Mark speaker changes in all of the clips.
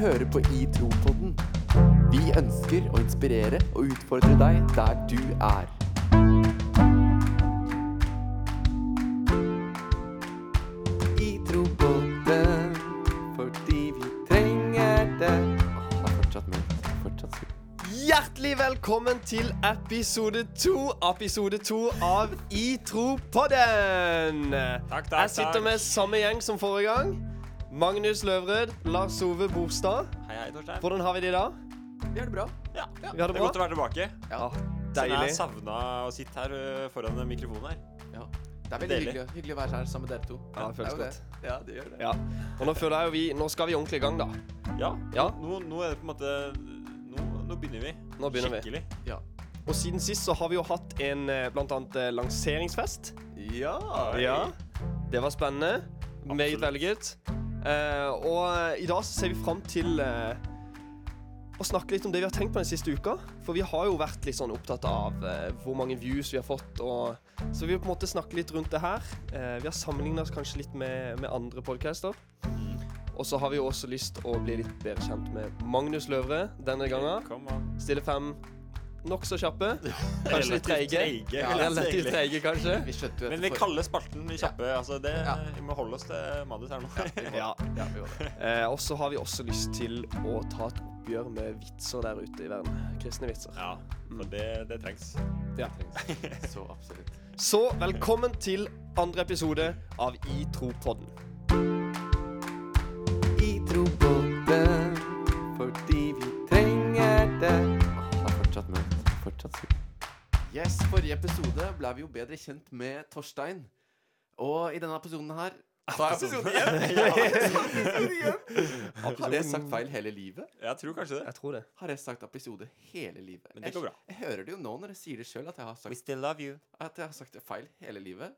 Speaker 1: hører på I Tro-podden. Vi ønsker å inspirere og utfordre deg der du er. I Tro-podden, fordi vi trenger det. Åh, det er fortsatt mørkt. Det er Fortsatt skummelt.
Speaker 2: Hjertelig velkommen til episode to Episode to av I tro på den!
Speaker 3: Takk, takk,
Speaker 2: Jeg sitter med samme gjeng som forrige gang. Magnus Løvrød, Lars Ove Borstad.
Speaker 3: Hei, hei, Torstein.
Speaker 2: Hvordan har vi det i dag?
Speaker 1: Vi har det bra.
Speaker 3: Ja, ja.
Speaker 2: Vi har det
Speaker 3: det er
Speaker 2: bra?
Speaker 3: godt å være tilbake.
Speaker 1: Ja,
Speaker 3: Sånn, Jeg
Speaker 2: Deilig.
Speaker 3: savna å sitte her ø, foran den mikrofonen her.
Speaker 1: ja. Det er veldig
Speaker 3: Deilig.
Speaker 1: hyggelig, hyggelig å være her sammen med dere to.
Speaker 2: Ja, det føles
Speaker 1: er jo
Speaker 2: godt.
Speaker 1: Det. Ja, det gjør det.
Speaker 2: Ja. Og nå føler jeg jo vi Nå skal vi ordentlig i gang, da.
Speaker 3: Ja,
Speaker 2: Ja.
Speaker 3: Nå, nå er det på en måte Nå, nå begynner vi.
Speaker 2: Nå begynner vi.
Speaker 3: Skikkelig.
Speaker 1: Ja.
Speaker 2: Og siden sist så har vi jo hatt en eh, blant annet eh, lanseringsfest.
Speaker 1: Ja.
Speaker 3: Oi.
Speaker 2: Ja. Det var spennende. Meget vellykket. Eh, og eh, i dag så ser vi fram til eh, å snakke litt om det vi har tenkt på den siste uka. For vi har jo vært litt sånn opptatt av eh, hvor mange views vi har fått. Og, så vi vil på en måte snakke litt rundt det her. Eh, vi har sammenligna oss kanskje litt med, med andre podcaster.
Speaker 3: Mm.
Speaker 2: Og så har vi jo også lyst å bli litt bedre kjent med Magnus Løvre denne gangen.
Speaker 3: Kom an.
Speaker 2: Stille fem nokså kjappe. Kanskje litt
Speaker 3: Relativt
Speaker 2: treige.
Speaker 3: treige,
Speaker 2: Ja,
Speaker 3: vil jeg si,
Speaker 2: relativt
Speaker 3: egentlig.
Speaker 2: treige, kanskje.
Speaker 1: Vi skjønte jo
Speaker 3: Men
Speaker 1: etter
Speaker 3: vi
Speaker 1: for-
Speaker 3: kaller spalten de kjappe. Altså, det,
Speaker 1: Ja.
Speaker 3: Vi må holde oss til manus her nå.
Speaker 1: vi må-
Speaker 2: Ja.
Speaker 1: ja, vi må det.
Speaker 2: Eh, og så har vi også lyst til å ta et oppgjør med vitser der ute i verden. Kristne vitser.
Speaker 3: Ja,
Speaker 2: Mm.
Speaker 3: for det, det trengs.
Speaker 2: Ja.
Speaker 1: Så absolutt.
Speaker 2: Så velkommen til andre episode av I tro-podden.
Speaker 1: I tro på det, fordi vi trenger det. Åh, det er fortsatt mørkt. Det er Fortsatt skummelt. Yes, forrige episode ble vi jo bedre kjent med Torstein. Og i denne episoden her Sa jeg episode igjen? Har jeg sagt feil hele livet?
Speaker 3: Jeg tror kanskje det.
Speaker 2: Jeg tror det.
Speaker 1: Har jeg sagt episode hele livet?
Speaker 3: Men det går bra.
Speaker 1: Jeg, jeg hører det jo nå når jeg sier det sjøl, at, jeg har sagt-
Speaker 3: still love you.
Speaker 1: at jeg har sagt det feil hele livet.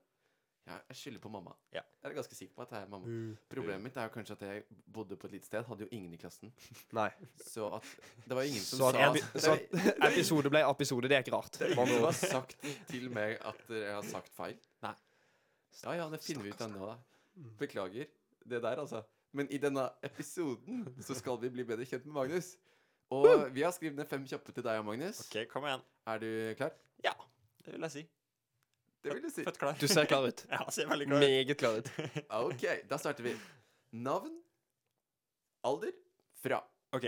Speaker 1: Ja, jeg skylder på mamma.
Speaker 3: Ja. Uh,
Speaker 1: Jeg er ganske sikker på at det er mamma. Problemet mitt er jo kanskje at jeg bodde på et lite sted, hadde jo ingen i klassen.
Speaker 2: Nei.
Speaker 1: Så at det var ingen som
Speaker 2: Så at,
Speaker 1: sa
Speaker 2: epi så
Speaker 1: det,
Speaker 2: at episode ble episode, det er ikke rart.
Speaker 1: var ingen som har sagt til meg at jeg har sagt feil.
Speaker 3: Nei.
Speaker 1: Ja, ja, det finner vi ut ennå, da. Beklager det der, altså. Men i denne episoden så skal vi bli bedre kjent med Magnus. Og vi har skrevet ned fem kjappe til deg og Magnus.
Speaker 3: OK, kom igjen.
Speaker 1: Er du klar?
Speaker 3: Ja, det vil jeg si.
Speaker 1: Det vil du si.
Speaker 3: Født klar.
Speaker 2: Du ser klar ut.
Speaker 3: Ja, ser veldig klar ut.
Speaker 2: Meget klar ut.
Speaker 1: OK, da starter vi. Navn. Alder. Fra.
Speaker 3: Ok,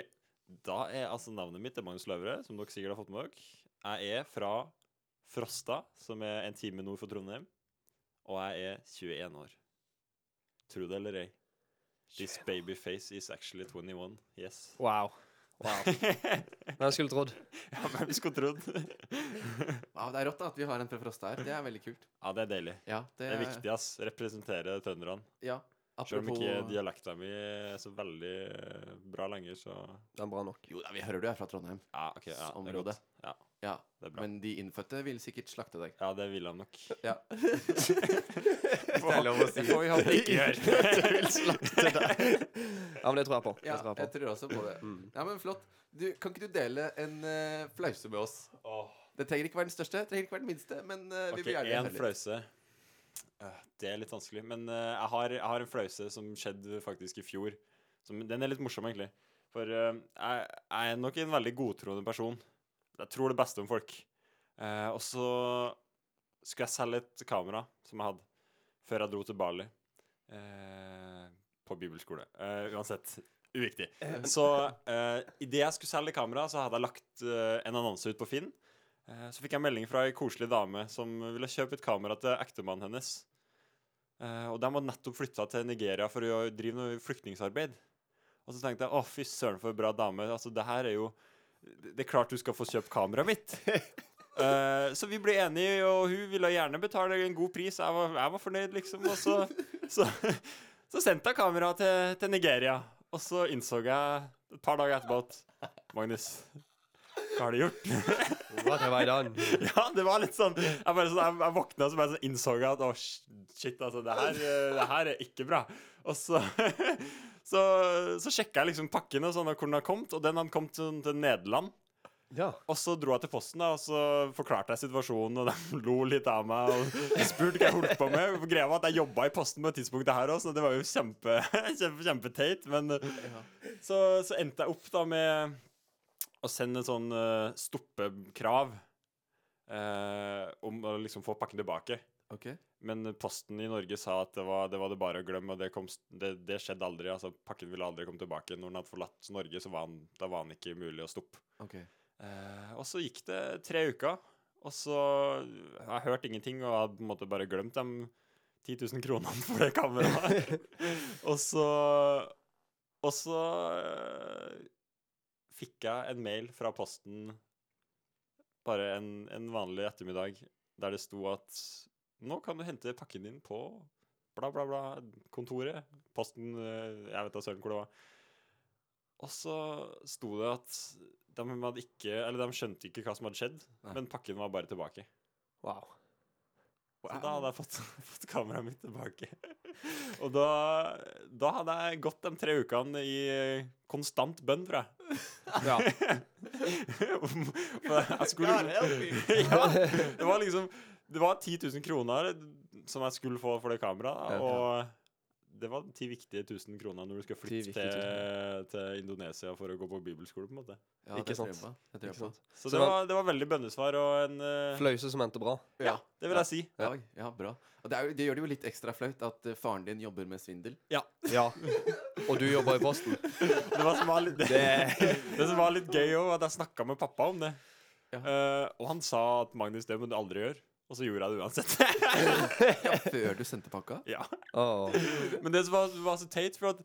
Speaker 3: da er altså navnet mitt er Magnus Løvre, som dere sikkert har fått med dere. Jeg er fra Frosta, som er en time nord for Trondheim, og jeg er 21 år. Tro det eller ei. This baby face is actually 21. Yes.
Speaker 2: Wow. Wow. Hvem skulle trodd?
Speaker 3: Ja, men vi skulle trodd.
Speaker 1: Ja, det er rått da at vi har en fra Frosta her. Det er veldig kult.
Speaker 3: Ja, det er deilig.
Speaker 1: Ja, det,
Speaker 3: Det er viktig, ass. Representere trønderne.
Speaker 1: Ja,
Speaker 3: Selv om
Speaker 1: apropos
Speaker 3: ikke dialekta mi er så veldig eh, bra lenger, så
Speaker 2: Den er bra nok.
Speaker 1: Jo da, vi hører du er fra Trondheim.
Speaker 3: Ja, OK. Ja, det er
Speaker 1: Området.
Speaker 3: godt. Ja,
Speaker 1: Ja,
Speaker 3: det er bra.
Speaker 1: Men de innfødte vil sikkert slakte deg.
Speaker 3: Ja, det vil han nok.
Speaker 1: Ja. er lov å si.
Speaker 3: Det får vi håpe ikke gjør. Du vil slakte deg.
Speaker 2: Ja, men det tror jeg på. Det
Speaker 1: Ja,
Speaker 2: tror
Speaker 1: jeg
Speaker 2: jeg på.
Speaker 1: tror også på det.
Speaker 3: Mm.
Speaker 1: Ja, men flott. Du, kan ikke du dele en eh, flause med oss? Det trenger ikke være den største, det trenger ikke være den minste, men eh, vi
Speaker 3: Ok,
Speaker 1: vil gjerne
Speaker 3: en
Speaker 1: høre litt.
Speaker 3: flause. Øh, Det er litt vanskelig, men øh, jeg har, jeg har en flause som skjedde faktisk i fjor. Som, den er litt morsom, egentlig. For øh, jeg, jeg er nok en veldig godtroende person. Jeg tror det beste om folk. Eh, og så skulle jeg selge et kamera som jeg hadde, før jeg dro til Bali. eh, på bibelskole. Eh, uansett. Uviktig. Så eh, idet jeg skulle selge kamera, så hadde jeg lagt eh, en annonse ut på Finn. Eh, Så fikk jeg melding fra ei koselig dame som ville kjøpe et kamera til ektemannen hennes. Eh, Og de hadde nettopp flytta til Nigeria for å drive noe flyktningarbeid. Og så tenkte jeg å, fy søren, for ei bra dame. Altså, det her er jo Det er klart du skal få kjøpt kameraet mitt. Eh, så vi ble enige, og hun ville gjerne betale en god pris. Jeg var, jeg var fornøyd, liksom. Og så, så, så sendte jeg kameraet til, til Nigeria. Og så innså jeg et par dager etterpå at Magnus, hva har du gjort?
Speaker 2: What have I done?
Speaker 3: Ja, det var litt sånn Jeg, bare, sånn, jeg, jeg våkna og så bare sånn innså jeg at Å, shit, altså, det her, eh, det her er ikke bra. Og så Så, så sjekka jeg liksom pakken og sånn, og hvor den hadde kommet, og den hadde kommet sånn, til Nederland.
Speaker 2: Ja.
Speaker 3: Og så dro jeg til posten da, og så forklarte jeg situasjonen, og de lo litt av meg og spurte hva jeg holdt på med. Greia var at jeg jobba i posten på et tidspunkt her også, så det var jo kjempe, kjempe, kjempeteit. Men så, så endte jeg opp da med å sende en sånn eh, stoppekrav eh, om å liksom få pakken tilbake.
Speaker 1: Ok.
Speaker 3: Men posten i Norge sa at det var det, var det bare å glemme, og det, kom, s- det, det skjedde aldri. altså Pakken ville aldri komme tilbake. Når den hadde forlatt Norge, så var den, da var den ikke mulig å stoppe.
Speaker 1: ok.
Speaker 3: Eh, og så gikk det tre uker, og så har jeg hørt ingenting, og jeg på en måte bare glemt de 10 000 kronene for det kameraet. og så Og så eh, fikk jeg en mail fra posten bare en, en vanlig ettermiddag, der det sto at nå kan du hente pakken din på bla, bla, bla, kontoret, posten, eh, jeg vet da søren hvor det var. Og så sto det at de, hadde ikke, eller de skjønte ikke hva som hadde skjedd,
Speaker 1: Nei.
Speaker 3: men pakken var bare tilbake.
Speaker 2: Wow.
Speaker 3: Så da hadde jeg fått, fått kameraet mitt tilbake. Og da, da hadde jeg gått de tre ukene i konstant bønn, tror jeg.
Speaker 2: Ja.
Speaker 3: Om- for jeg skulle liksom- ja, det var liksom Det var 10 000 kroner som jeg skulle få for det kameraet,
Speaker 1: Ja.
Speaker 3: og det var ti viktige tusen kroner når du skal
Speaker 1: Ti
Speaker 3: flytte
Speaker 1: viktige
Speaker 3: til, til Indonesia for å gå på bibelskole, på en måte.
Speaker 1: Ja,
Speaker 2: Ikke
Speaker 1: det tror
Speaker 2: sant.
Speaker 1: jeg på. Det tror
Speaker 2: Ikke
Speaker 1: jeg på.
Speaker 2: sant?
Speaker 3: Så,
Speaker 2: Så
Speaker 3: det,
Speaker 2: det-
Speaker 3: var, det var veldig bønnesvar og en eh,
Speaker 2: Flause som endte bra.
Speaker 3: Ja, det vil
Speaker 1: Ja.
Speaker 3: jeg si.
Speaker 1: Ja, ja, bra. Og det, er, jo- det gjør det jo litt ekstra flaut at eh, faren din jobber med svindel.
Speaker 2: Ja. Og du jobber i Posten.
Speaker 3: Det, var som var litt, det, som var litt gøy òg, var at jeg snakka med pappa om det.
Speaker 1: Ja.
Speaker 3: Eh, og han sa at Magnus, det må du aldri gjøre. Og så gjorde jeg det uansett.
Speaker 1: Ja, før du sendte pakka?
Speaker 3: ja.
Speaker 2: Åh.
Speaker 3: Men det som var, var så teit, for at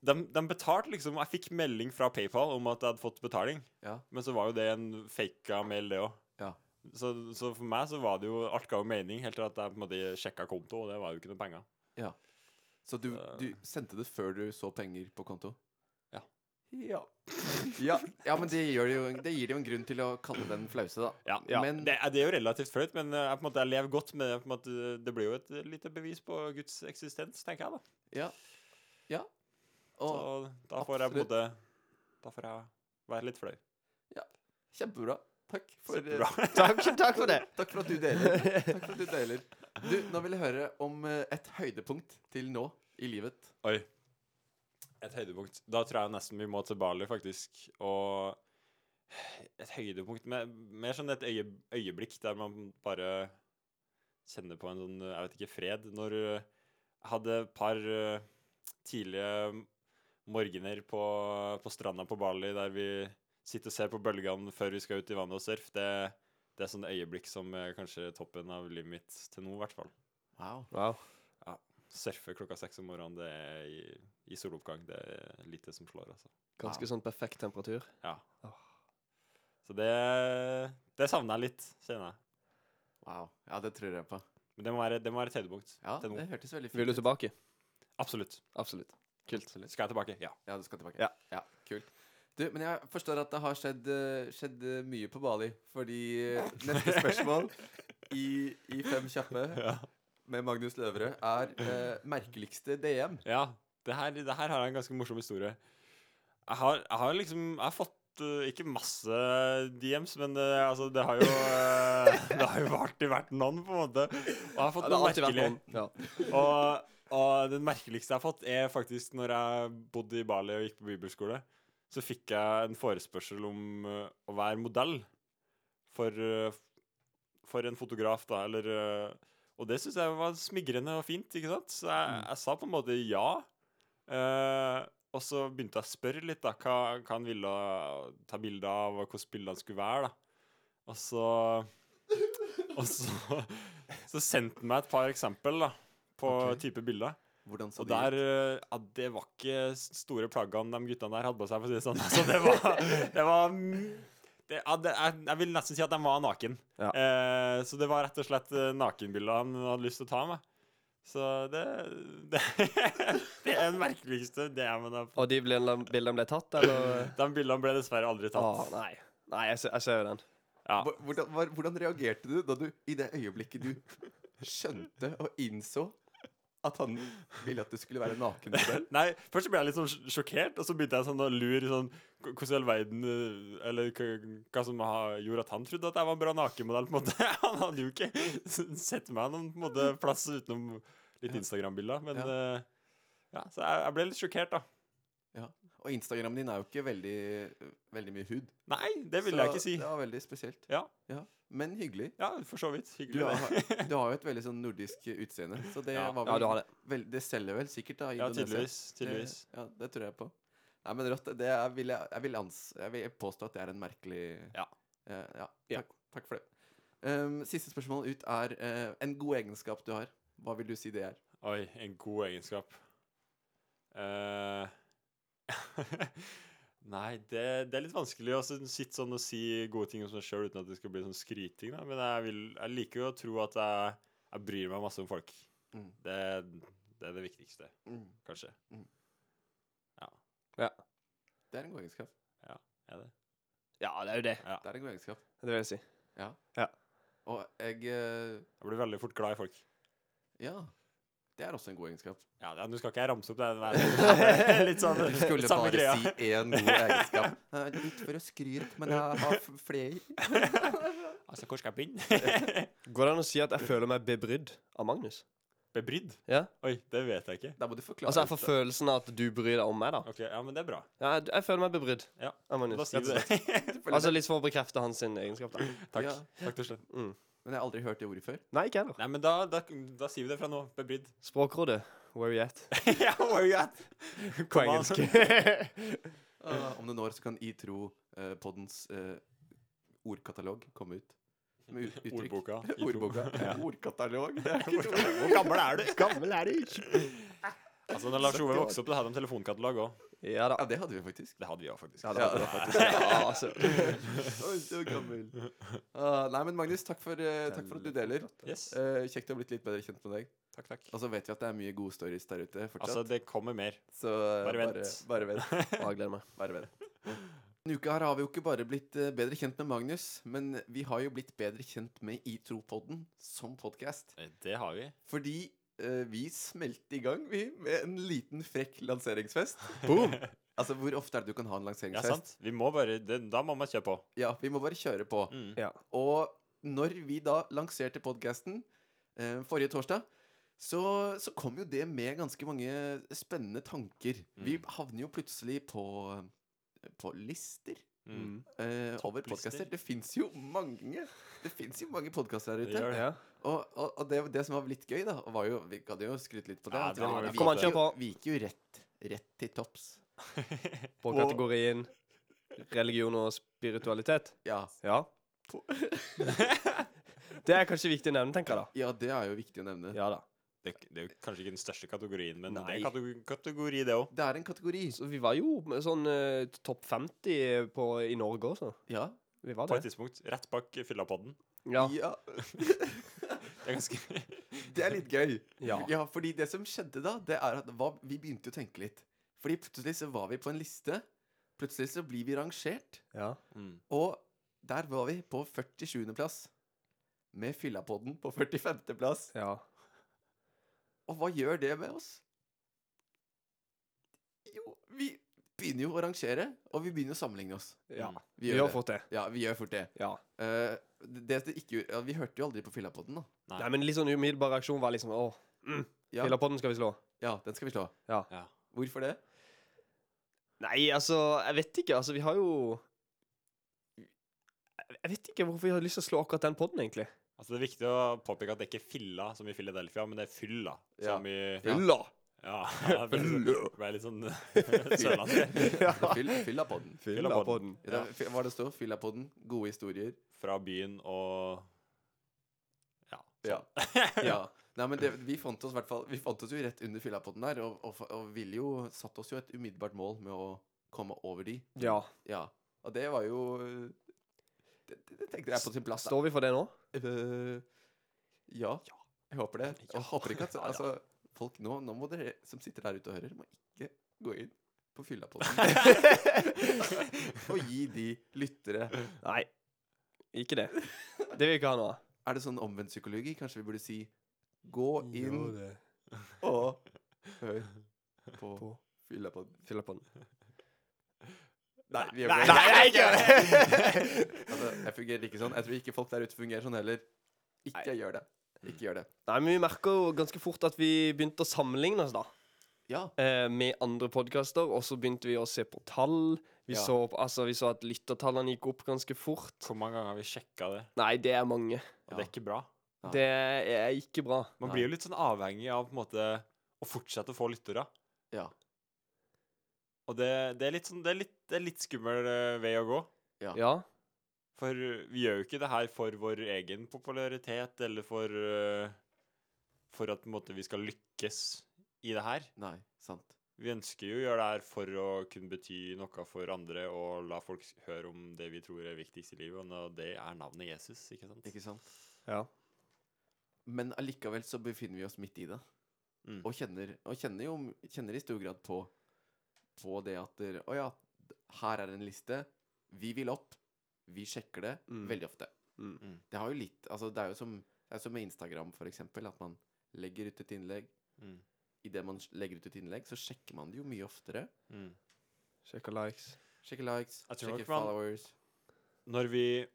Speaker 3: de, de betalte liksom Jeg fikk melding fra PayPal om at jeg hadde fått betaling,
Speaker 1: Ja.
Speaker 3: men så var jo det en faka mail, det òg.
Speaker 1: Ja.
Speaker 3: Så, så for meg så var det jo Alt ga jo mening, helt til at jeg på en måte sjekka konto, og det var jo ikke noe penger.
Speaker 1: Så du,
Speaker 3: Så-
Speaker 1: du sendte det før du så penger på konto?
Speaker 3: Ja.
Speaker 1: Eh. Ja, ja, ja men det, gjør det, jo, det gir det jo en grunn til å kalle den flause, da.
Speaker 3: Ja,
Speaker 1: Ja.
Speaker 3: Men, det, er- det er jo relativt flaut, men eh, jeg, på en måte, jeg lever godt med det. På en måte, det blir jo et eh, lite bevis på Guds eksistens, tenker jeg, da. Så
Speaker 1: Og,
Speaker 3: da får jeg på en
Speaker 1: absolutt.
Speaker 3: måte Da får jeg være litt flau.
Speaker 1: kjempebra. Takk for, eh,
Speaker 3: Bra.
Speaker 2: Takk, takk for det.
Speaker 1: takk for at du deler. Takk for at du deler. Du, nå vil jeg høre om eh, et høydepunkt til nå i livet.
Speaker 3: Oi. Et høydepunkt. Da tror jeg nesten vi må til Bali, faktisk. Og et høydepunkt med, Mer sånn et øye, øyeblikk der man bare kjenner på en sånn Jeg vet ikke, fred. Når eh, jeg hadde et par eh, tidlige morgener på, på stranda på Bali der vi sitter og ser på bølgene før vi skal ut i vannet og surfe, det, det er sånne øyeblikk som er kanskje toppen av livet mitt til nå, i hvert fall
Speaker 1: Wow.
Speaker 2: Wow.
Speaker 3: surfe klokka seks om morgenen det er i, i soloppgang. Det er lite som slår, altså.
Speaker 2: Ganske sånn perfekt temperatur.
Speaker 3: Ja.
Speaker 2: Åh.
Speaker 3: Så det, det savner jeg litt, kjenner jeg.
Speaker 1: wow. Ja, det tror jeg på.
Speaker 3: Men det må være, det må være et høydepunkt.
Speaker 1: Ja,
Speaker 3: til nå.
Speaker 1: det hørtes veldig
Speaker 2: Vil
Speaker 1: fint
Speaker 2: du tilbake?
Speaker 3: Absolutt.
Speaker 2: Absolutt. Kult.
Speaker 3: Skal jeg tilbake? Ja.
Speaker 1: Ja, du skal tilbake.
Speaker 2: Ja.
Speaker 1: kult. Du, men jeg forstår at det har skjedd, eh, skjedd eh, mye på Bali, fordi eh, neste spørsmål i, i Fem kjappe
Speaker 3: Ja.
Speaker 1: med Magnus Løverød er eh, merkeligste DM.
Speaker 3: ja. Det, her, det her har jeg en ganske morsom historie. Jeg har, jeg har liksom Jeg har fått uh, ikke masse DMs, men uh, altså, det har jo uh, Det har jo alltid vært noen, på en måte. Og jeg har
Speaker 2: Ja,
Speaker 3: fått
Speaker 2: det har
Speaker 3: noen
Speaker 2: alltid vært
Speaker 3: merkelige
Speaker 2: noen. Ja.
Speaker 3: og, og den merkeligste jeg har fått, er faktisk når jeg bodde i Bali og gikk på bibelskole. Så fikk jeg en forespørsel om eh, å være modell for, eh, for en fotograf, da. Eller, eh, og det syns jeg var smigrende og fint, ikke sant? Så jeg, jeg sa på en måte ja. Eh, og så begynte jeg å spørre litt da, hva, hva han ville ta bilde av, og hvordan bildene skulle være. da. Og så Og så, så sendte han meg et par eksempel da, på
Speaker 1: Ok.
Speaker 3: type bilder.
Speaker 1: Hvordan så
Speaker 3: Og
Speaker 1: de
Speaker 3: der,
Speaker 1: ut?
Speaker 3: eh, ja, det var ikke s- store plaggene de guttene der hadde på seg, for å si det sånn. Så det var, det var mm, det, ja, det, jeg, jeg vil nesten si at de var naken.
Speaker 2: Ja.
Speaker 3: Eh, så det var rett og slett eh, nakenbilder han hadde lyst til å ta av meg. Så det, det, det er den merkeligste DM-en jeg har fått.
Speaker 2: Og de bildene bildene ble tatt, eller?
Speaker 3: De bildene ble dessverre aldri
Speaker 2: Å,
Speaker 3: tatt.
Speaker 2: nei. Nei, jeg ser, jeg ser jo den.
Speaker 3: Ja.
Speaker 1: Hvor- Hvordan, var, hvordan reagerte du da du i det øyeblikket du skjønte og innså At han ville at du skulle være nakenmodell?
Speaker 3: Nei, først så ble jeg litt sånn sj- sjokkert, og så begynte jeg sånn å lure sånn k- Hvordan i all verden eh, Eller k- hva som har gjorde at han trodde at jeg var en bra nakenmodell, på en måte. Han hadde jo ikke s- sett meg noen på en måte, plass utenom litt Instagram-bilder, men
Speaker 1: Ja.
Speaker 3: eh, ja, så jeg, jeg ble litt sjokkert, da.
Speaker 1: Og Instagramen din er jo ikke veldig, veldig mye hud.
Speaker 3: Nei, det ville jeg ikke si.
Speaker 1: Det var veldig spesielt.
Speaker 3: Ja.
Speaker 1: Men hyggelig.
Speaker 3: Ja, for så vidt.
Speaker 1: Du
Speaker 3: Hyggelig.
Speaker 1: har,
Speaker 3: det.
Speaker 1: du har jo et veldig sånn nordisk utseende, så det
Speaker 3: Ja.
Speaker 1: var
Speaker 2: Ja,
Speaker 1: vel
Speaker 2: du har det.
Speaker 1: vel- Det selger vel sikkert, da. i
Speaker 3: Ja,
Speaker 1: Indonesia.
Speaker 3: tydeligvis. tydeligvis.
Speaker 1: Det, ja, det tror jeg på. Nei, men rått. Det er, vil jeg, jeg, vil ans, jeg vil påstå at det er en merkelig
Speaker 3: Ja.
Speaker 1: Eh, ja,
Speaker 2: Ja.
Speaker 1: Takk, takk for det. Um, siste spørsmål ut er eh, en god egenskap du har. Hva vil du si det er?
Speaker 3: Oi, en god egenskap. Eh, Nei, det, det er litt vanskelig å så- sitte sånn og si gode ting om seg sjøl uten at det skal bli sånn skryting, da. Men jeg, vil, jeg liker jo å tro at jeg, jeg bryr meg masse om folk.
Speaker 1: Mm.
Speaker 3: Det, det er det viktigste, kanskje.
Speaker 1: Det er en god egenskap.
Speaker 3: Er det?
Speaker 2: Ja, det er jo det.
Speaker 1: Det er en god egenskap.
Speaker 2: Det vil jeg si.
Speaker 1: Og jeg eh,
Speaker 3: Jeg blir veldig fort glad i folk.
Speaker 1: Ja. Det er også en god egenskap.
Speaker 3: Ja, det- Nå skal ikke jeg ramse opp det. det er litt sånn
Speaker 1: Du skulle
Speaker 3: samme
Speaker 1: bare
Speaker 3: greia.
Speaker 1: si én god egenskap. Litt for å skryte, men jeg har flere.
Speaker 3: Altså, hvor skal jeg begynne?
Speaker 2: Går det an å si at jeg føler meg bebrydd av Magnus?
Speaker 3: Bebrydd?
Speaker 2: Ja.
Speaker 3: Oi, det vet jeg ikke.
Speaker 1: Da må du forklare.
Speaker 2: Altså, jeg får følelsen av at du bryr deg om meg, da.
Speaker 3: Ok, Ja, men det er bra.
Speaker 2: Ja, jeg, jeg føler meg bebrydd
Speaker 3: Ja,
Speaker 2: av Magnus.
Speaker 3: Da sier
Speaker 2: rett
Speaker 3: du
Speaker 2: og slett.
Speaker 3: det.
Speaker 2: Altså litt for å bekrefte hans sin egenskap, da.
Speaker 3: Takk.
Speaker 1: Ja.
Speaker 3: Takk til slutt.
Speaker 2: Mm.
Speaker 1: Men jeg har aldri hørt det ordet før.
Speaker 2: Nei, ikke heller.
Speaker 3: Nei, men da, da, da sier vi det fra nå. Bebrydd.
Speaker 2: Språkrådet, where you at?
Speaker 3: ja, oh where you at?
Speaker 2: På
Speaker 3: Kom an.
Speaker 2: engelsk.
Speaker 1: Eh, om noen år så kan I tro eh, poddens eh, ordkatalog komme ut. Med ut- uttrykk.
Speaker 3: Ordboka. i tro.
Speaker 1: Ordboka. Ordkatalog. Det er ikke et ord.
Speaker 3: Hvor gammel er du?
Speaker 2: Gammel er du ikke.
Speaker 3: Altså, når Lars Ove vokste opp, da hadde de telefonkatalog òg.
Speaker 2: Ja da.
Speaker 1: Ja, det hadde vi faktisk.
Speaker 3: Det hadde vi òg, faktisk.
Speaker 2: Ja, det var det faktisk. Ja, altså.
Speaker 1: Oi, så gammel. Ah, nei, men Magnus, takk for, eh, takk for at du deler.
Speaker 3: Yes.
Speaker 1: Eh, kjekt å ha blitt litt bedre kjent med deg.
Speaker 3: Takk, takk.
Speaker 1: Og så vet vi at det er mye gode stories der ute
Speaker 3: Altså,
Speaker 1: fortsatt.
Speaker 3: det kommer mer.
Speaker 1: Så eh,
Speaker 3: bare vent.
Speaker 1: Bare, bare vent.
Speaker 2: Å, jeg gleder meg.
Speaker 1: Bare vent. Denne uka her har vi jo ikke bare blitt eh, bedre kjent med Magnus, men vi har jo blitt bedre kjent med ITRO-podden som podkast.
Speaker 3: Eh, Det har vi.
Speaker 1: Fordi eh, vi smelte i gang, vi, med en liten frekk lanseringsfest.
Speaker 2: Boom!
Speaker 1: Altså, hvor ofte er det du kan ha en
Speaker 3: Ja,
Speaker 1: lanseringsfest?
Speaker 3: sant? Vi må bare det, Da må man kjøre på.
Speaker 1: Ja, vi må bare kjøre på.
Speaker 3: Mm.
Speaker 2: Ja.
Speaker 1: Og når vi da lanserte podkasten eh, forrige torsdag, så, så kom jo det med ganske mange spennende tanker. Vi
Speaker 3: Mm.
Speaker 1: havner jo plutselig på, eh, på lister.
Speaker 3: Mm.
Speaker 1: Eh, over
Speaker 3: Topplister.
Speaker 1: podkaster. Det fins jo mange Det finnes jo mange podkaster der
Speaker 3: Det
Speaker 1: ute.
Speaker 3: gjør det.
Speaker 2: Ja.
Speaker 1: Og, og, og det, det som var litt gøy, da, var jo Vi kan jo skryte litt på det.
Speaker 3: Ja,
Speaker 1: at
Speaker 3: det må
Speaker 1: vi,
Speaker 3: vi
Speaker 1: vi,
Speaker 2: Kom an,
Speaker 1: gikk
Speaker 2: kjør
Speaker 1: jo,
Speaker 2: på.
Speaker 1: vi gikk jo rett, rett til topps.
Speaker 2: På
Speaker 3: Og-
Speaker 2: kategorien religion og spiritualitet.
Speaker 1: Ja.
Speaker 2: Ja.
Speaker 1: På-
Speaker 2: Det er kanskje viktig å nevne, tenker jeg da.
Speaker 1: ja, det er jo viktig å nevne.
Speaker 2: Ja da.
Speaker 3: Det, det er jo kanskje ikke den største kategorien, men det
Speaker 2: Nei.
Speaker 3: er en kategori, kategori, det òg.
Speaker 1: Det er en kategori.
Speaker 2: Så vi var jo med sånn eh, topp 50 på, i Norge også.
Speaker 1: Ja.
Speaker 2: Vi var
Speaker 3: På et
Speaker 2: det.
Speaker 3: tidspunkt. Rett bak Fyllapodden.
Speaker 2: Ja.
Speaker 1: ja.
Speaker 3: Det er ganske
Speaker 1: Det er litt gøy.
Speaker 2: ja.
Speaker 1: Ja, fordi det som skjedde da, det er at hva, vi begynte jo å tenke litt. Fordi plutselig så var vi på en liste. Plutselig så blir vi rangert.
Speaker 2: ja.
Speaker 3: mm.
Speaker 1: Og der var vi på 47. plass. Med Fyllapodden på 45. plass.
Speaker 2: ja.
Speaker 1: Og hva gjør det med oss? Jo, vi begynner jo å rangere, og vi begynner å sammenligne oss.
Speaker 2: Ja.
Speaker 3: Mm.
Speaker 1: Vi
Speaker 2: Vi
Speaker 1: gjør
Speaker 2: har
Speaker 1: det.
Speaker 2: fått det. ja.
Speaker 1: Ja, vi gjør fort det.
Speaker 2: Ja.
Speaker 1: Eh, det, det ikke, ja, vi hørte jo aldri på Fyllapodden, da.
Speaker 3: Nei.
Speaker 2: Nei, men litt sånn umiddelbar reaksjon var liksom Å, mm,
Speaker 1: Ja.
Speaker 2: Filapodden skal vi slå.
Speaker 1: Ja, den skal vi slå.
Speaker 3: Ja.
Speaker 1: Hvorfor det?
Speaker 2: Nei, altså, jeg vet ikke. Altså, vi har jo Jeg jeg vet ikke hvorfor vi har lyst til å slå akkurat den podden, egentlig.
Speaker 3: Altså Det er viktig å påpeke at det er ikke filla som i Philadelphia, men det er fylla
Speaker 1: Ja.
Speaker 3: som i
Speaker 1: Ja.
Speaker 2: Ulla!
Speaker 3: Ja. ja det ble sånn-
Speaker 2: Fylla.
Speaker 3: ble litt sånn sørlandsk.
Speaker 1: Fyll, Fyllapodden.
Speaker 2: Fyllapodden.
Speaker 1: Ja. det- Hva var det stod? Fyllapodden, gode historier.
Speaker 3: Fra byen og Ja.
Speaker 1: Ja. ja. Nei, men det, vi fant oss i hvert fall Vi fant oss jo rett under Fyllapodden der, og, og, og ville jo satt oss jo et umiddelbart mål med å komme over de.
Speaker 2: Ja.
Speaker 1: Ja. Og det var jo Det, det, det tenkte jeg er på sin plass. da.
Speaker 2: Står vi for det nå?
Speaker 1: Eh, ja. Jeg håper det. Jeg håper ikke at altså, folk nå, nå må dere som sitter der ute og hører, må ikke gå inn på Fyllapodden og gi de lyttere
Speaker 2: Nei. Ikke det. Det vil vi ikke ha nå.
Speaker 1: Er det sånn omvendt psykologi? Kanskje vi burde si Gå inn og hør på
Speaker 2: På
Speaker 1: Fyllapodden.
Speaker 2: Filippaen.
Speaker 1: Nei, vi er
Speaker 3: Nei,
Speaker 1: på-
Speaker 3: nei, jeg gjør det!
Speaker 1: Altså, jeg fungerer ikke sånn. Jeg tror ikke folk der ute fungerer sånn heller. Ikke gjør det. Ikke gjør det.
Speaker 2: Nei, men vi merka jo ganske fort at vi begynte å sammenligne oss, da.
Speaker 1: Ja.
Speaker 2: eh, med andre podkaster, og så begynte vi å se på tall. Vi,
Speaker 1: Ja.
Speaker 2: så, på- altså, vi så at lyttertallene gikk opp ganske fort.
Speaker 3: Hvor mange ganger har vi sjekka det?
Speaker 2: Nei, det er mange.
Speaker 3: Og
Speaker 1: Ja.
Speaker 3: det er ikke bra.
Speaker 1: Ja.
Speaker 2: Det er ikke bra.
Speaker 3: Man
Speaker 1: Nei.
Speaker 3: blir jo litt sånn avhengig av på en måte å fortsette å få lyttere.
Speaker 1: Ja.
Speaker 3: Og det, det er litt sånn Det er litt, det er litt skummel eh, vei å gå.
Speaker 1: Ja.
Speaker 2: Ja.
Speaker 3: For eh, vi gjør jo ikke det her for vår egen popularitet eller for eh, For at på en måte vi skal lykkes i det her.
Speaker 1: Nei, sant.
Speaker 3: Vi ønsker jo å gjøre det her for å kunne bety noe for andre og la folk s- høre om det vi tror er viktigst i livet, og det er navnet Jesus, ikke sant?
Speaker 1: Ikke sant?
Speaker 2: ja.
Speaker 1: Men allikevel så befinner vi oss midt i det.
Speaker 3: Mm.
Speaker 1: Og kjenner, og kjenner jo kjenner i stor grad på, på det at der, Å ja, d- her er en liste. Vi vil opp. Vi sjekker det
Speaker 2: Mm.
Speaker 1: veldig ofte.
Speaker 2: Mm.
Speaker 3: Mm.
Speaker 1: Det har jo litt Altså, det er jo som, det er som med Instagram, for eksempel, at man legger ut et innlegg.
Speaker 3: Mm.
Speaker 1: Idet man s- legger ut et innlegg, så sjekker man det jo mye oftere.
Speaker 3: Mm.
Speaker 2: Sjekker likes.
Speaker 1: Sjekker likes,
Speaker 3: Jeg tror
Speaker 1: sjekker
Speaker 3: nok man-
Speaker 1: followers.
Speaker 3: Når vi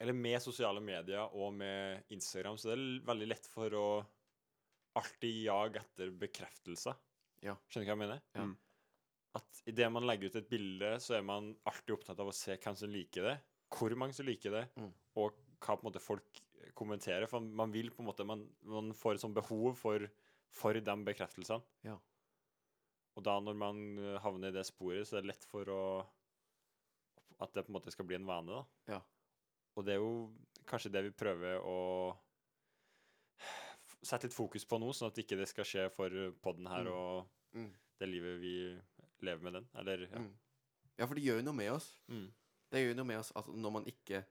Speaker 3: Eller med sosiale medier og med Instagram, så det er l- veldig lett for å alltid jage etter bekreftelse.
Speaker 1: Ja.
Speaker 3: Skjønner du hva jeg mener?
Speaker 1: Ja.
Speaker 2: Mm.
Speaker 3: At idet man legger ut et bilde, så er man alltid opptatt av å se hvem som liker det, hvor mange som liker det,
Speaker 1: Mm.
Speaker 3: og hva på en måte folk kommenterer. For man vil på en måte Man, man får et sånt behov for, for de bekreftelsene.
Speaker 1: Ja.
Speaker 3: Og da når man eh, havner i det sporet, så er det lett for å At det på en måte skal bli en vane, da.
Speaker 1: Ja.
Speaker 3: Og det er jo kanskje det vi prøver å f- sette litt fokus på nå, sånn at ikke det skal skje for podden her
Speaker 1: Mm.
Speaker 3: og
Speaker 1: Mm.
Speaker 3: det livet vi lever med den. Eller ja.
Speaker 1: Mm. Ja, for det gjør jo noe med oss.
Speaker 3: Mm.
Speaker 1: Det gjør jo noe med oss altså, når man ikke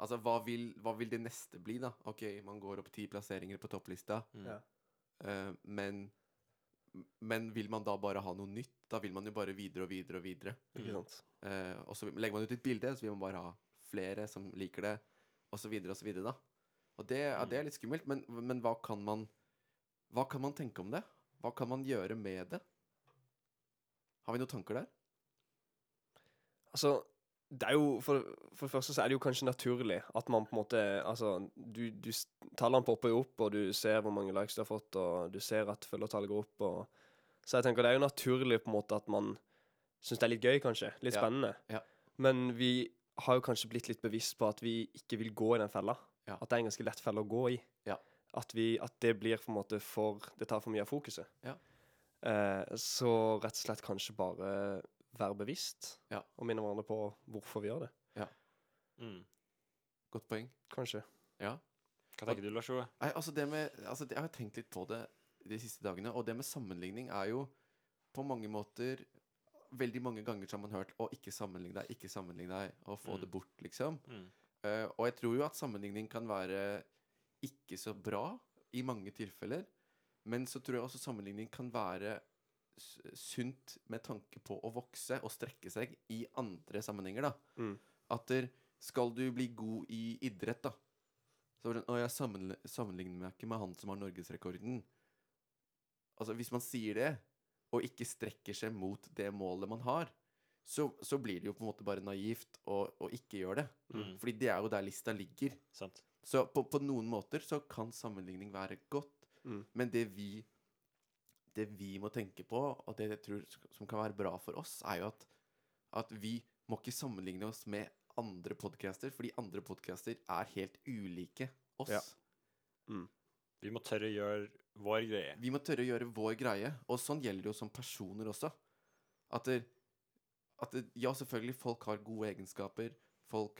Speaker 1: Altså, hva vil, hva vil det neste bli, da? OK, man går opp ti plasseringer på topplista,
Speaker 3: Mm.
Speaker 2: Ja.
Speaker 1: eh, men Men vil man da bare ha noe nytt? Da vil man jo bare videre og videre og videre.
Speaker 2: Ikke sant.
Speaker 1: Eh, og så legger man ut et bilde, så vil man bare ha flere som liker det, og så videre og så videre, da. Og det, ja, det er litt skummelt, men, men hva kan man Hva kan man tenke om det? Hva kan man gjøre med det? Har vi noen tanker der?
Speaker 2: Altså, det er jo for, for det første så er det jo kanskje naturlig at man på en måte Altså, du, du s- Tallene popper jo opp, og du ser hvor mange likes du har fått, og du ser at følgertallet går opp, og Så jeg tenker det er jo naturlig på en måte at man syns det er litt gøy, kanskje. Litt
Speaker 1: Ja,
Speaker 2: spennende.
Speaker 1: ja.
Speaker 2: Men vi har jo kanskje blitt litt bevisst på at vi ikke vil gå i den fella.
Speaker 1: Ja.
Speaker 2: At det er en ganske lett felle å gå i.
Speaker 1: Ja.
Speaker 2: At, vi, at det blir på en måte for Det tar for mye av fokuset.
Speaker 1: Ja.
Speaker 2: Eh, så rett og slett kanskje bare være bevisst og minne hverandre på hvorfor vi gjør det.
Speaker 3: Mm.
Speaker 1: Godt poeng.
Speaker 2: Kanskje.
Speaker 3: Hva tenker du, Lars Joe?
Speaker 1: Nei, altså det med altså det, Jeg har tenkt litt på det de siste dagene, og det med sammenligning er jo på mange måter Veldig mange ganger så har man hørt 'å, ikke sammenlign deg', 'ikke sammenlign deg', og få
Speaker 3: Mm.
Speaker 1: det bort, liksom.
Speaker 3: Mm.
Speaker 1: Eh, og jeg tror jo at sammenligning kan være ikke så bra i mange tilfeller, men så tror jeg også sammenligning kan være s- sunt med tanke på å vokse og strekke seg i andre sammenhenger, da.
Speaker 2: Mm.
Speaker 1: At der, skal du bli god i idrett, da, så er det sånn, «Å, jeg sammenli- sammenligner meg ikke med han som har norgesrekorden. Altså, hvis man sier det, og ikke strekker seg mot det målet man har, så, så blir det jo på en måte bare naivt å, å ikke gjøre det.
Speaker 3: Mm.
Speaker 1: Fordi det er jo der lista ligger.
Speaker 3: Sant.
Speaker 1: Så på, på noen måter så kan sammenligning være godt,
Speaker 2: Mm.
Speaker 1: men det vi det vi må tenke på, og det jeg tror sk- som kan være bra for oss, er jo at, at vi må ikke sammenligne oss med andre podcaster, fordi andre podcaster er helt ulike oss.
Speaker 2: Ja.
Speaker 3: Vi må tørre å gjøre vår greie.
Speaker 1: Vi må tørre å gjøre vår greie, og sånn gjelder det jo som personer også. At, det, at det, ja, selvfølgelig, folk har gode egenskaper, folk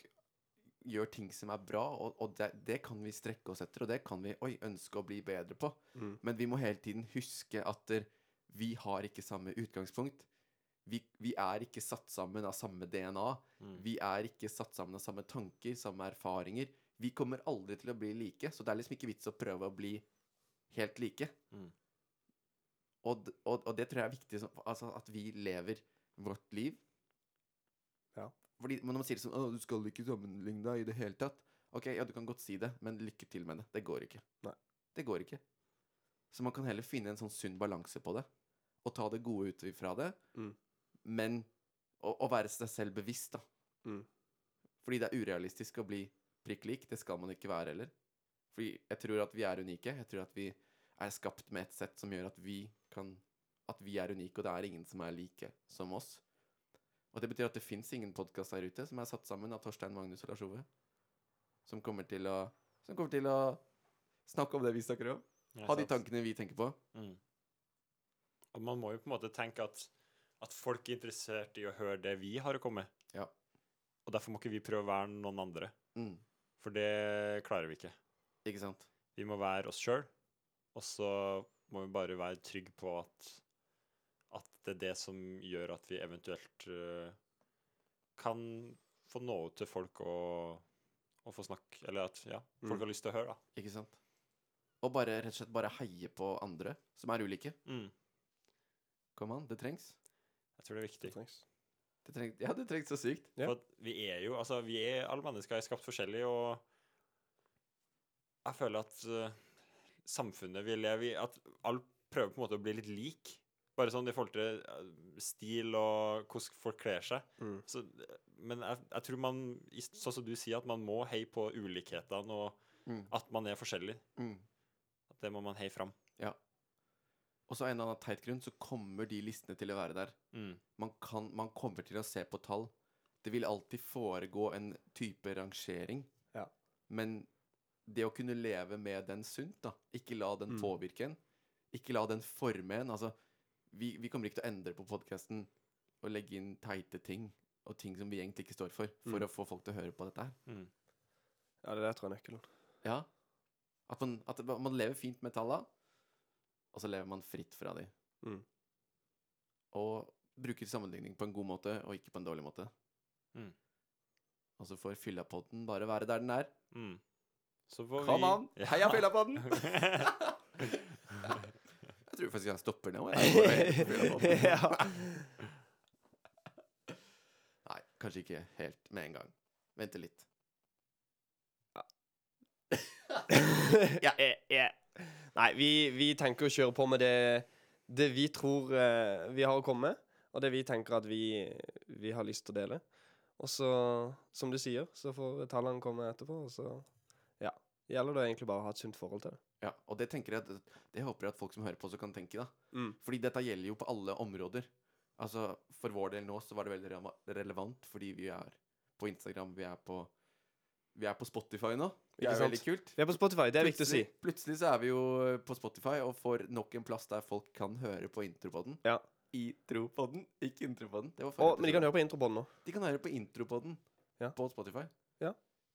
Speaker 1: gjør ting som er bra, og, og det, det kan vi strekke oss etter, og det kan vi oi, ønske å bli bedre på.
Speaker 2: Mm.
Speaker 1: Men vi må hele tiden huske at det, vi har ikke samme utgangspunkt. Vi, vi er ikke satt sammen av samme DNA.
Speaker 3: Mm.
Speaker 1: Vi er ikke satt sammen av samme tanker, samme erfaringer. Vi kommer aldri til å bli like, så det er liksom ikke vits å prøve å bli helt like.
Speaker 3: Mm.
Speaker 1: Og, d- og, og det tror jeg er viktig, som- altså at vi lever vårt liv.
Speaker 2: Ja.
Speaker 1: Fordi men når man sier det sånn «Å, 'Du skal ikke sammenligne deg i det hele tatt'. Ok, ja, du kan godt si det, men lykke til med det. Det går ikke.
Speaker 2: Nei.
Speaker 1: Det går ikke. Så man kan heller finne en sånn sunn balanse på det. Og ta det gode ut ifra det.
Speaker 2: Mm.
Speaker 1: Men å, å være seg selv bevisst, da.
Speaker 2: Mm.
Speaker 1: Fordi det er urealistisk å bli prikk lik. Det skal man ikke være heller. Fordi jeg tror at vi er unike. Jeg tror at vi er skapt med et sett som gjør at vi kan At vi er unike, og det er ingen som er like som oss. Og det betyr at det fins ingen podkast der ute som er satt sammen av Torstein, Magnus og Lars Ove. Som kommer til å Som kommer til å snakke om det vi snakker om.
Speaker 3: Ja,
Speaker 1: Ha de
Speaker 3: sant.
Speaker 1: tankene vi tenker på.
Speaker 3: Mm. Og man må jo på en måte tenke at, at folk er interessert i å høre det vi har å komme med.
Speaker 1: Ja.
Speaker 3: Og derfor må ikke vi prøve å være noen andre,
Speaker 1: Mm.
Speaker 3: for det klarer vi ikke.
Speaker 1: Ikke sant?
Speaker 3: Vi må være oss sjøl, og så må vi bare være trygge på at, at det er det som gjør at vi eventuelt øh, kan få nå ut til folk og, og få snakke Eller at ja, folk
Speaker 2: Mm.
Speaker 3: har lyst til å høre, da.
Speaker 1: Ikke sant? Og bare, rett og slett bare heie på andre som er ulike. Kom an, det trengs.
Speaker 3: Jeg tror det er viktig.
Speaker 2: Det trengs.
Speaker 1: Det trengs ja, det trengs så sykt.
Speaker 2: Ja.
Speaker 3: For at vi er jo Altså, vi er alle mennesker er skapt forskjellige, og jeg føler at eh, samfunnet vi lever i At alle prøver på en måte å bli litt lik. Bare sånn i forhold til eh, stil og hvordan folk kler seg.
Speaker 2: Mm.
Speaker 3: Så, eh, men jeg, jeg tror man, i s- sånn som du sier, at man må heie på ulikhetene, og
Speaker 1: Mm.
Speaker 3: at man er forskjellig.
Speaker 1: Mm.
Speaker 3: At det må man heie fram.
Speaker 1: Og så av en eller annen teit grunn så kommer de listene til å være der. Man, kan, man kommer til å se på tall. Det vil alltid foregå en type rangering.
Speaker 2: Ja.
Speaker 1: Men det å kunne leve med den sunt, da. Ikke la den
Speaker 2: Mm.
Speaker 1: påvirke en. Ikke la den forme en. Altså, vi, vi kommer ikke til å endre på podkasten og legge inn teite ting og ting som vi egentlig ikke står for, for
Speaker 2: Mm.
Speaker 1: å få folk til å høre på dette her.
Speaker 2: Ja, det der tror jeg er nøkkelen.
Speaker 1: Ja. At man, at det- man lever fint med talla, og så lever man fritt fra de.
Speaker 2: Mm.
Speaker 1: Og bruker sammenligning på en god måte, og ikke på en dårlig måte.
Speaker 3: Mm.
Speaker 1: Og så får fyllapodden bare være der den er.
Speaker 3: Mm. Så får
Speaker 1: Kom
Speaker 3: vi
Speaker 1: an!
Speaker 3: Ja.
Speaker 1: Heia fyllapodden! Jeg tror faktisk jeg stopper nå. jeg.
Speaker 2: ja.
Speaker 1: Nei, kanskje ikke helt med en gang. Vente litt.
Speaker 2: Eh, eh. Nei, vi, vi tenker å kjøre på med det, det vi tror eh, vi har å komme med, og det vi tenker at vi, vi har lyst til å dele. Og så, som du sier, så får tallene komme etterpå, og så ja, gjelder det egentlig bare å ha et sunt forhold til det.
Speaker 1: Ja, og det tenker jeg at, Det håper jeg at folk som hører på, også kan tenke, da.
Speaker 2: Mm.
Speaker 1: Fordi dette gjelder jo på alle områder. Altså, For vår del nå så var det veldig rele- relevant, fordi vi er på Instagram, vi er på, vi er på Spotify nå. Det er
Speaker 2: Ikke
Speaker 1: jo
Speaker 2: sant?
Speaker 1: veldig kult.
Speaker 2: Vi er på Spotify, det er viktig å si.
Speaker 1: Plutselig- Plutselig så er vi jo eh, på Spotify og får nok en plass der folk kan høre på intropodden.
Speaker 2: Ja.
Speaker 1: Intropodden, ikke intropodden. Det var
Speaker 2: Og, men de kan høre på introbånd nå.
Speaker 1: de kan høre på intropodden
Speaker 2: Ja.
Speaker 1: på Spotify.
Speaker 2: Ja.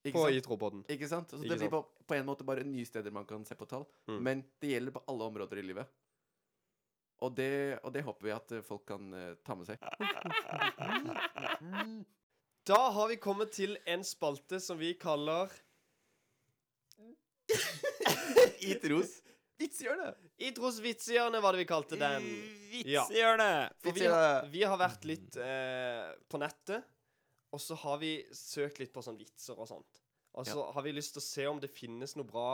Speaker 1: Ikke
Speaker 2: På
Speaker 1: sant?
Speaker 2: introbånden.
Speaker 1: Ikke sant? Så
Speaker 2: Ikke
Speaker 1: det blir på, på en måte bare nye steder man kan se på tall.
Speaker 2: Mm.
Speaker 1: Men det gjelder på alle områder i livet. Og det, og det håper vi at eh, folk kan eh, ta med seg.
Speaker 2: Da har vi kommet til en spalte som vi kaller
Speaker 1: I tros vitshjørne.
Speaker 2: Idros vitsehjørne, var det vi kalte den. Ja.
Speaker 3: Vitsehjørnet!
Speaker 2: For vi, har- vi har vært litt eh, på nettet, og så har vi søkt litt på sånn vitser og sånt. Og så har vi lyst til å se om det finnes noe bra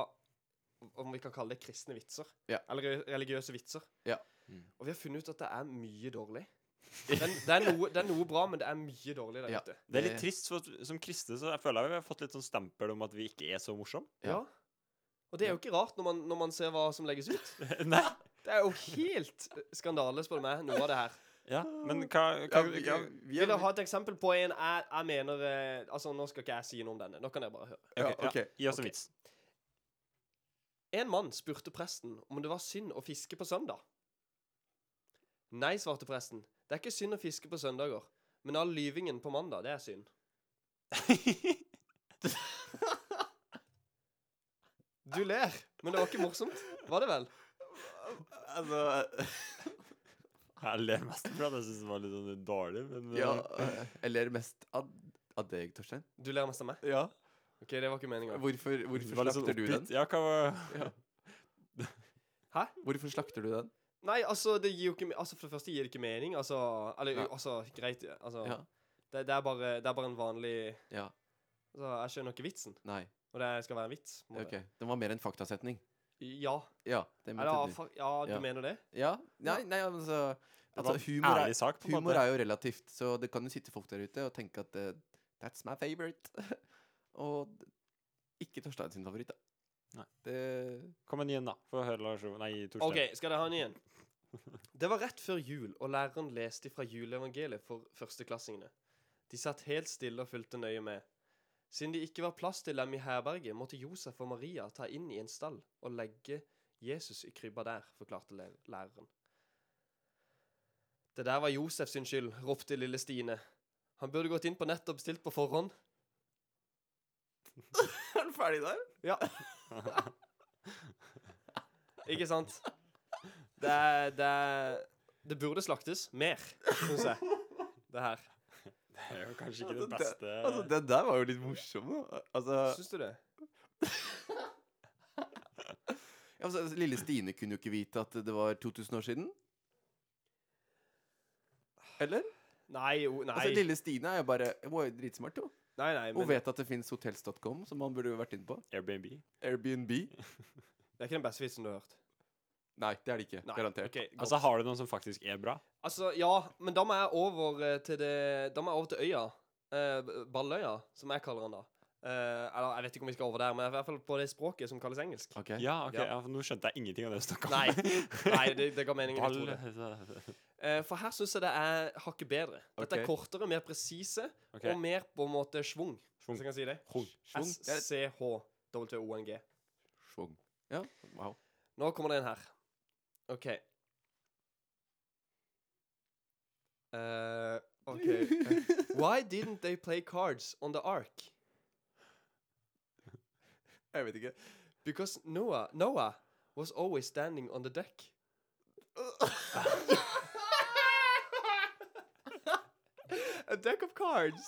Speaker 2: Om vi kan kalle det kristne vitser.
Speaker 1: Ja.
Speaker 2: Eller re- religiøse vitser.
Speaker 1: Ja.
Speaker 3: Mm.
Speaker 2: Og vi har funnet ut at det er mye dårlig. Det er, det er, noe, det er noe bra, men det er mye dårlig der
Speaker 1: Ja.
Speaker 2: ute.
Speaker 3: Det
Speaker 1: Eh.
Speaker 3: er litt trist, for at som kristne så jeg føler jeg vi har fått litt sånn stempel om at vi ikke er så morsomme.
Speaker 1: Ja.
Speaker 2: Ja. Og det er jo ikke rart når man, når man ser hva som legges ut.
Speaker 3: Nei.
Speaker 2: Det er jo helt skandale, spør du meg, noe av det her.
Speaker 3: Ja, men hva, hva
Speaker 1: Ja, vi- ja, vi
Speaker 2: Vil
Speaker 1: er,
Speaker 2: dere ha et eksempel på en jeg, jeg mener eh, Altså, nå skal ikke jeg si noe om denne. Nå kan dere bare høre.
Speaker 1: ja,
Speaker 3: ok, ja.
Speaker 1: ok.
Speaker 3: Gi oss en
Speaker 2: Ok.
Speaker 3: vits.
Speaker 2: En mann spurte presten om det var synd å fiske på søndag. Nei, svarte presten. Det er ikke synd å fiske på søndager. Men all lyvingen på mandag, det er synd. Du ler, men det var ikke morsomt. Var det vel?
Speaker 1: Altså
Speaker 3: Jeg ler mest for at jeg syns den var litt sånn dårlig, men
Speaker 1: Ja.
Speaker 3: eh,
Speaker 1: eh, Eller mest av, av deg, Torstein.
Speaker 2: Du ler mest av meg?
Speaker 1: Ja.
Speaker 2: OK, det var ikke meninga.
Speaker 1: Hvorfor,
Speaker 3: det
Speaker 1: hvorfor
Speaker 3: var litt sånn
Speaker 1: slakter du den? Altså,
Speaker 3: oppgitt. Ja, hva var
Speaker 1: Ja.
Speaker 2: Hæ?
Speaker 1: Hvorfor slakter du den?
Speaker 2: Nei, altså, det gir jo ikke me- Altså, for det første gir det ikke mening. Altså, eller,
Speaker 1: Nei.
Speaker 2: altså greit. Altså,
Speaker 1: Ja.
Speaker 2: det, det, er bare, det er bare en vanlig
Speaker 1: Ja.
Speaker 2: altså, Jeg skjønner ikke vitsen.
Speaker 1: Nei.
Speaker 2: Og det skal være en vits. på en måte.
Speaker 1: Ok. Den var mer en faktasetning.
Speaker 2: Ja.
Speaker 1: Ja, det mente
Speaker 2: Eller,
Speaker 1: du.
Speaker 2: fa- ja, du
Speaker 1: Ja.
Speaker 2: mener det?
Speaker 1: Ja? Nei, nei, altså,
Speaker 3: Det
Speaker 1: altså
Speaker 3: var en
Speaker 1: humor,
Speaker 3: ærlig
Speaker 1: er,
Speaker 3: sak, på en
Speaker 1: humor
Speaker 3: måte.
Speaker 1: er jo relativt, så det kan jo sitte folk der ute og tenke at eh, that's my favorite. og d- ikke Torstein sin favoritt, da.
Speaker 3: Nei.
Speaker 1: Det
Speaker 3: Kom igjen, igjen, da. Få høre Lars Ove. Nei, Torstein.
Speaker 2: OK, skal dere ha en igjen? Det var rett før jul, og læreren leste fra juleevangeliet for førsteklassingene. De satt helt stille og fulgte nøye med. Siden det ikke var plass til dem i herberget, måtte Josef og Maria ta inn i en stall og legge Jesus i krybba der, forklarte læ- læreren. Det der var Josef sin skyld, ropte lille Stine. Han burde gått inn på nettet og bestilt på forhånd.
Speaker 1: Er den ferdig der?
Speaker 2: Ja. Ikke sant? Det er, det er Det burde slaktes mer, syns jeg. Det her.
Speaker 3: Det er jo kanskje ikke
Speaker 1: Altså,
Speaker 3: det beste
Speaker 1: Altså, Den der var jo litt morsom, da. Altså,
Speaker 2: Syns du det?
Speaker 1: ja, altså, lille Stine kunne jo ikke vite at det var 2000 år siden. Eller?
Speaker 2: Nei, o, nei.
Speaker 1: Altså, lille Stine er jo bare Hun er jo dritsmart, jo.
Speaker 2: nei, nei
Speaker 1: Hun
Speaker 2: men
Speaker 1: vet at det fins hotels.com, som man burde jo vært inne på.
Speaker 3: Airbnb.
Speaker 1: Airbnb.
Speaker 2: det er ikke den beste vitsen du har hørt.
Speaker 1: Nei, det er det ikke.
Speaker 2: Nei,
Speaker 1: Garantert.
Speaker 2: ok, godt.
Speaker 3: Altså, har du noen som faktisk er bra?
Speaker 2: altså, ja, men da må jeg over eh, til det Da må jeg over til øya. Eh, B- Balløya, som jeg kaller den da. Eh, eller jeg vet ikke om vi skal over der, men i hvert fall på det språket som kalles engelsk.
Speaker 1: Ok.
Speaker 3: Ja, ok.
Speaker 2: Ja.
Speaker 3: Ja. for nå skjønte jeg ingenting av det du snakka
Speaker 2: Nei,
Speaker 3: om.
Speaker 2: nei det, det ga meningen. Jeg tror det.
Speaker 3: Ball
Speaker 2: Eh, for her syns jeg det er hakket bedre. Dette
Speaker 1: Ok.
Speaker 2: er kortere, mer presise
Speaker 3: Ok.
Speaker 2: og mer på en måte schwung.
Speaker 3: Schwung.
Speaker 2: Hvis jeg kan si det.
Speaker 3: Hung.
Speaker 2: S-C-H-W-O-N-G.
Speaker 1: Schwung. Ja, wow.
Speaker 2: Nå kommer det en her. OK. Eh, OK. Why didn't they play cards on the ark?
Speaker 1: Jeg vet ikke.
Speaker 2: Because Noah, Noah was always standing on the deck. A deck of cards.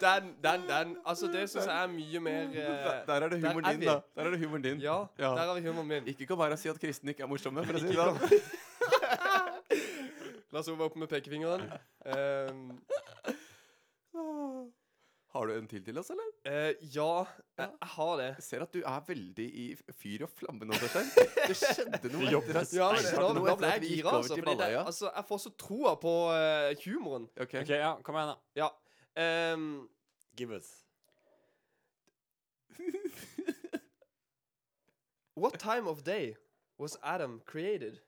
Speaker 2: den, den, den. Altså, det syns jeg er mye mer
Speaker 1: Der,
Speaker 2: eh,
Speaker 1: der er det
Speaker 2: der
Speaker 1: humoren
Speaker 2: er
Speaker 1: din,
Speaker 2: vi.
Speaker 1: da. Der er det humoren din.
Speaker 2: Ja,
Speaker 1: Ja.
Speaker 2: der har vi humoren min.
Speaker 1: Ikke kom her og si at kristne ikke er morsomme, for å si det
Speaker 2: Ikke
Speaker 1: sånn.
Speaker 2: La oss være oppe med pekefingeren. Ehm,
Speaker 1: Har du en til til oss, eller?
Speaker 2: eh, ja, jeg, jeg har det.
Speaker 1: Jeg ser at du er veldig i f- fyr og flamme nå, Torstein. Det skjedde noe
Speaker 3: Du jobber
Speaker 1: etter at
Speaker 2: Ja, men
Speaker 1: det skjedde
Speaker 2: nå,
Speaker 1: noe
Speaker 2: nå
Speaker 1: etter
Speaker 2: ble
Speaker 1: at
Speaker 2: jeg
Speaker 1: vi gikk
Speaker 2: gira,
Speaker 1: over
Speaker 2: altså.
Speaker 1: til
Speaker 2: Fordi det,
Speaker 1: Balløya.
Speaker 2: altså. Jeg får så troa på eh, humoren.
Speaker 1: Ok.
Speaker 3: OK, ja. Kom igjen, da.
Speaker 2: Ja. ehm,
Speaker 3: Give us.
Speaker 2: what time of day was Adam created?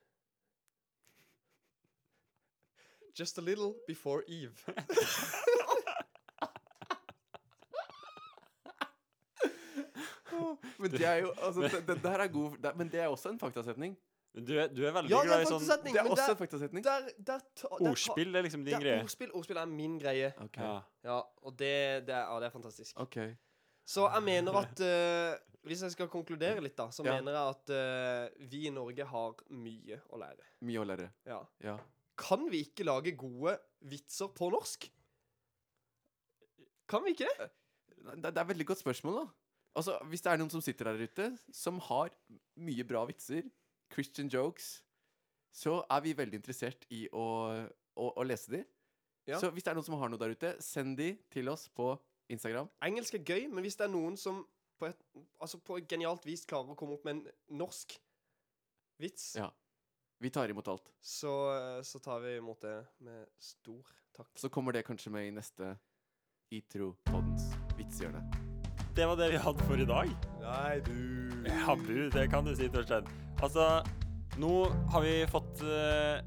Speaker 2: Just a little before Eve.
Speaker 1: Men det er jo altså, det, det der er god det, Men det er også en faktasetning.
Speaker 3: Men Du er, du er veldig
Speaker 2: ja, det
Speaker 3: glad
Speaker 2: er
Speaker 3: i
Speaker 2: faktisk
Speaker 3: sånn
Speaker 2: setning,
Speaker 1: Det er
Speaker 2: men
Speaker 1: også en
Speaker 2: der,
Speaker 1: faktasetning.
Speaker 2: der, der, ta- der
Speaker 3: Ordspill det er liksom
Speaker 2: Ta,
Speaker 3: din greie.
Speaker 2: ordspill, ordspill er min greie.
Speaker 1: Ok.
Speaker 3: Ja.
Speaker 2: Ja, og det, det, er, ja, det er fantastisk.
Speaker 1: Ok.
Speaker 2: Så jeg mener at eh, Hvis jeg skal konkludere litt, da, så
Speaker 1: Ja.
Speaker 2: mener jeg at eh, vi i Norge har mye å lære.
Speaker 1: Mye å lære.
Speaker 2: Ja.
Speaker 1: Ja.
Speaker 2: Kan vi ikke lage gode vitser på norsk? Kan vi ikke det?
Speaker 1: Det, det er et veldig godt spørsmål, da. Altså, Hvis det er noen som sitter der ute, som har mye bra vitser, Christian jokes, så er vi veldig interessert i å, å, å lese de.
Speaker 2: Ja.
Speaker 1: Så hvis det er noen som har noe der ute, send de til oss på Instagram.
Speaker 2: Engelsk er gøy, men hvis det er noen som på et, altså på et genialt vis klarer å komme opp med en norsk vits,
Speaker 1: Ja. Vi tar imot alt.
Speaker 2: så, så tar vi imot det med stor takk.
Speaker 1: Så kommer det kanskje med i neste Itro-poddens vitsehjørne.
Speaker 3: Det var det vi hadde for i dag.
Speaker 2: Nei, du
Speaker 3: Ja, bu, det kan du si, Torstein. Altså, nå har vi fått uh,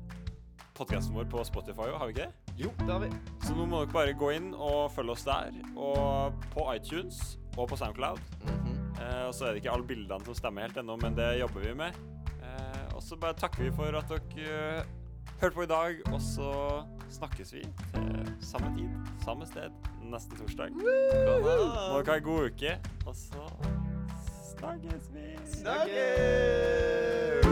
Speaker 3: podkasten vår på Spotify òg, har vi ikke det?
Speaker 2: Jo, det har vi.
Speaker 3: Så nå må dere bare gå inn og følge oss der, og på iTunes og på SoundCloud. Eh, og så er det ikke alle bildene som stemmer helt ennå, men det jobber vi med. Eh, og så bare takker vi for at dere eh, hørte på i dag, og så snakkes vi til samme tid, samme sted, neste torsdag. Må dere ha en god uke, og så snakkes vi.
Speaker 2: Snakkes!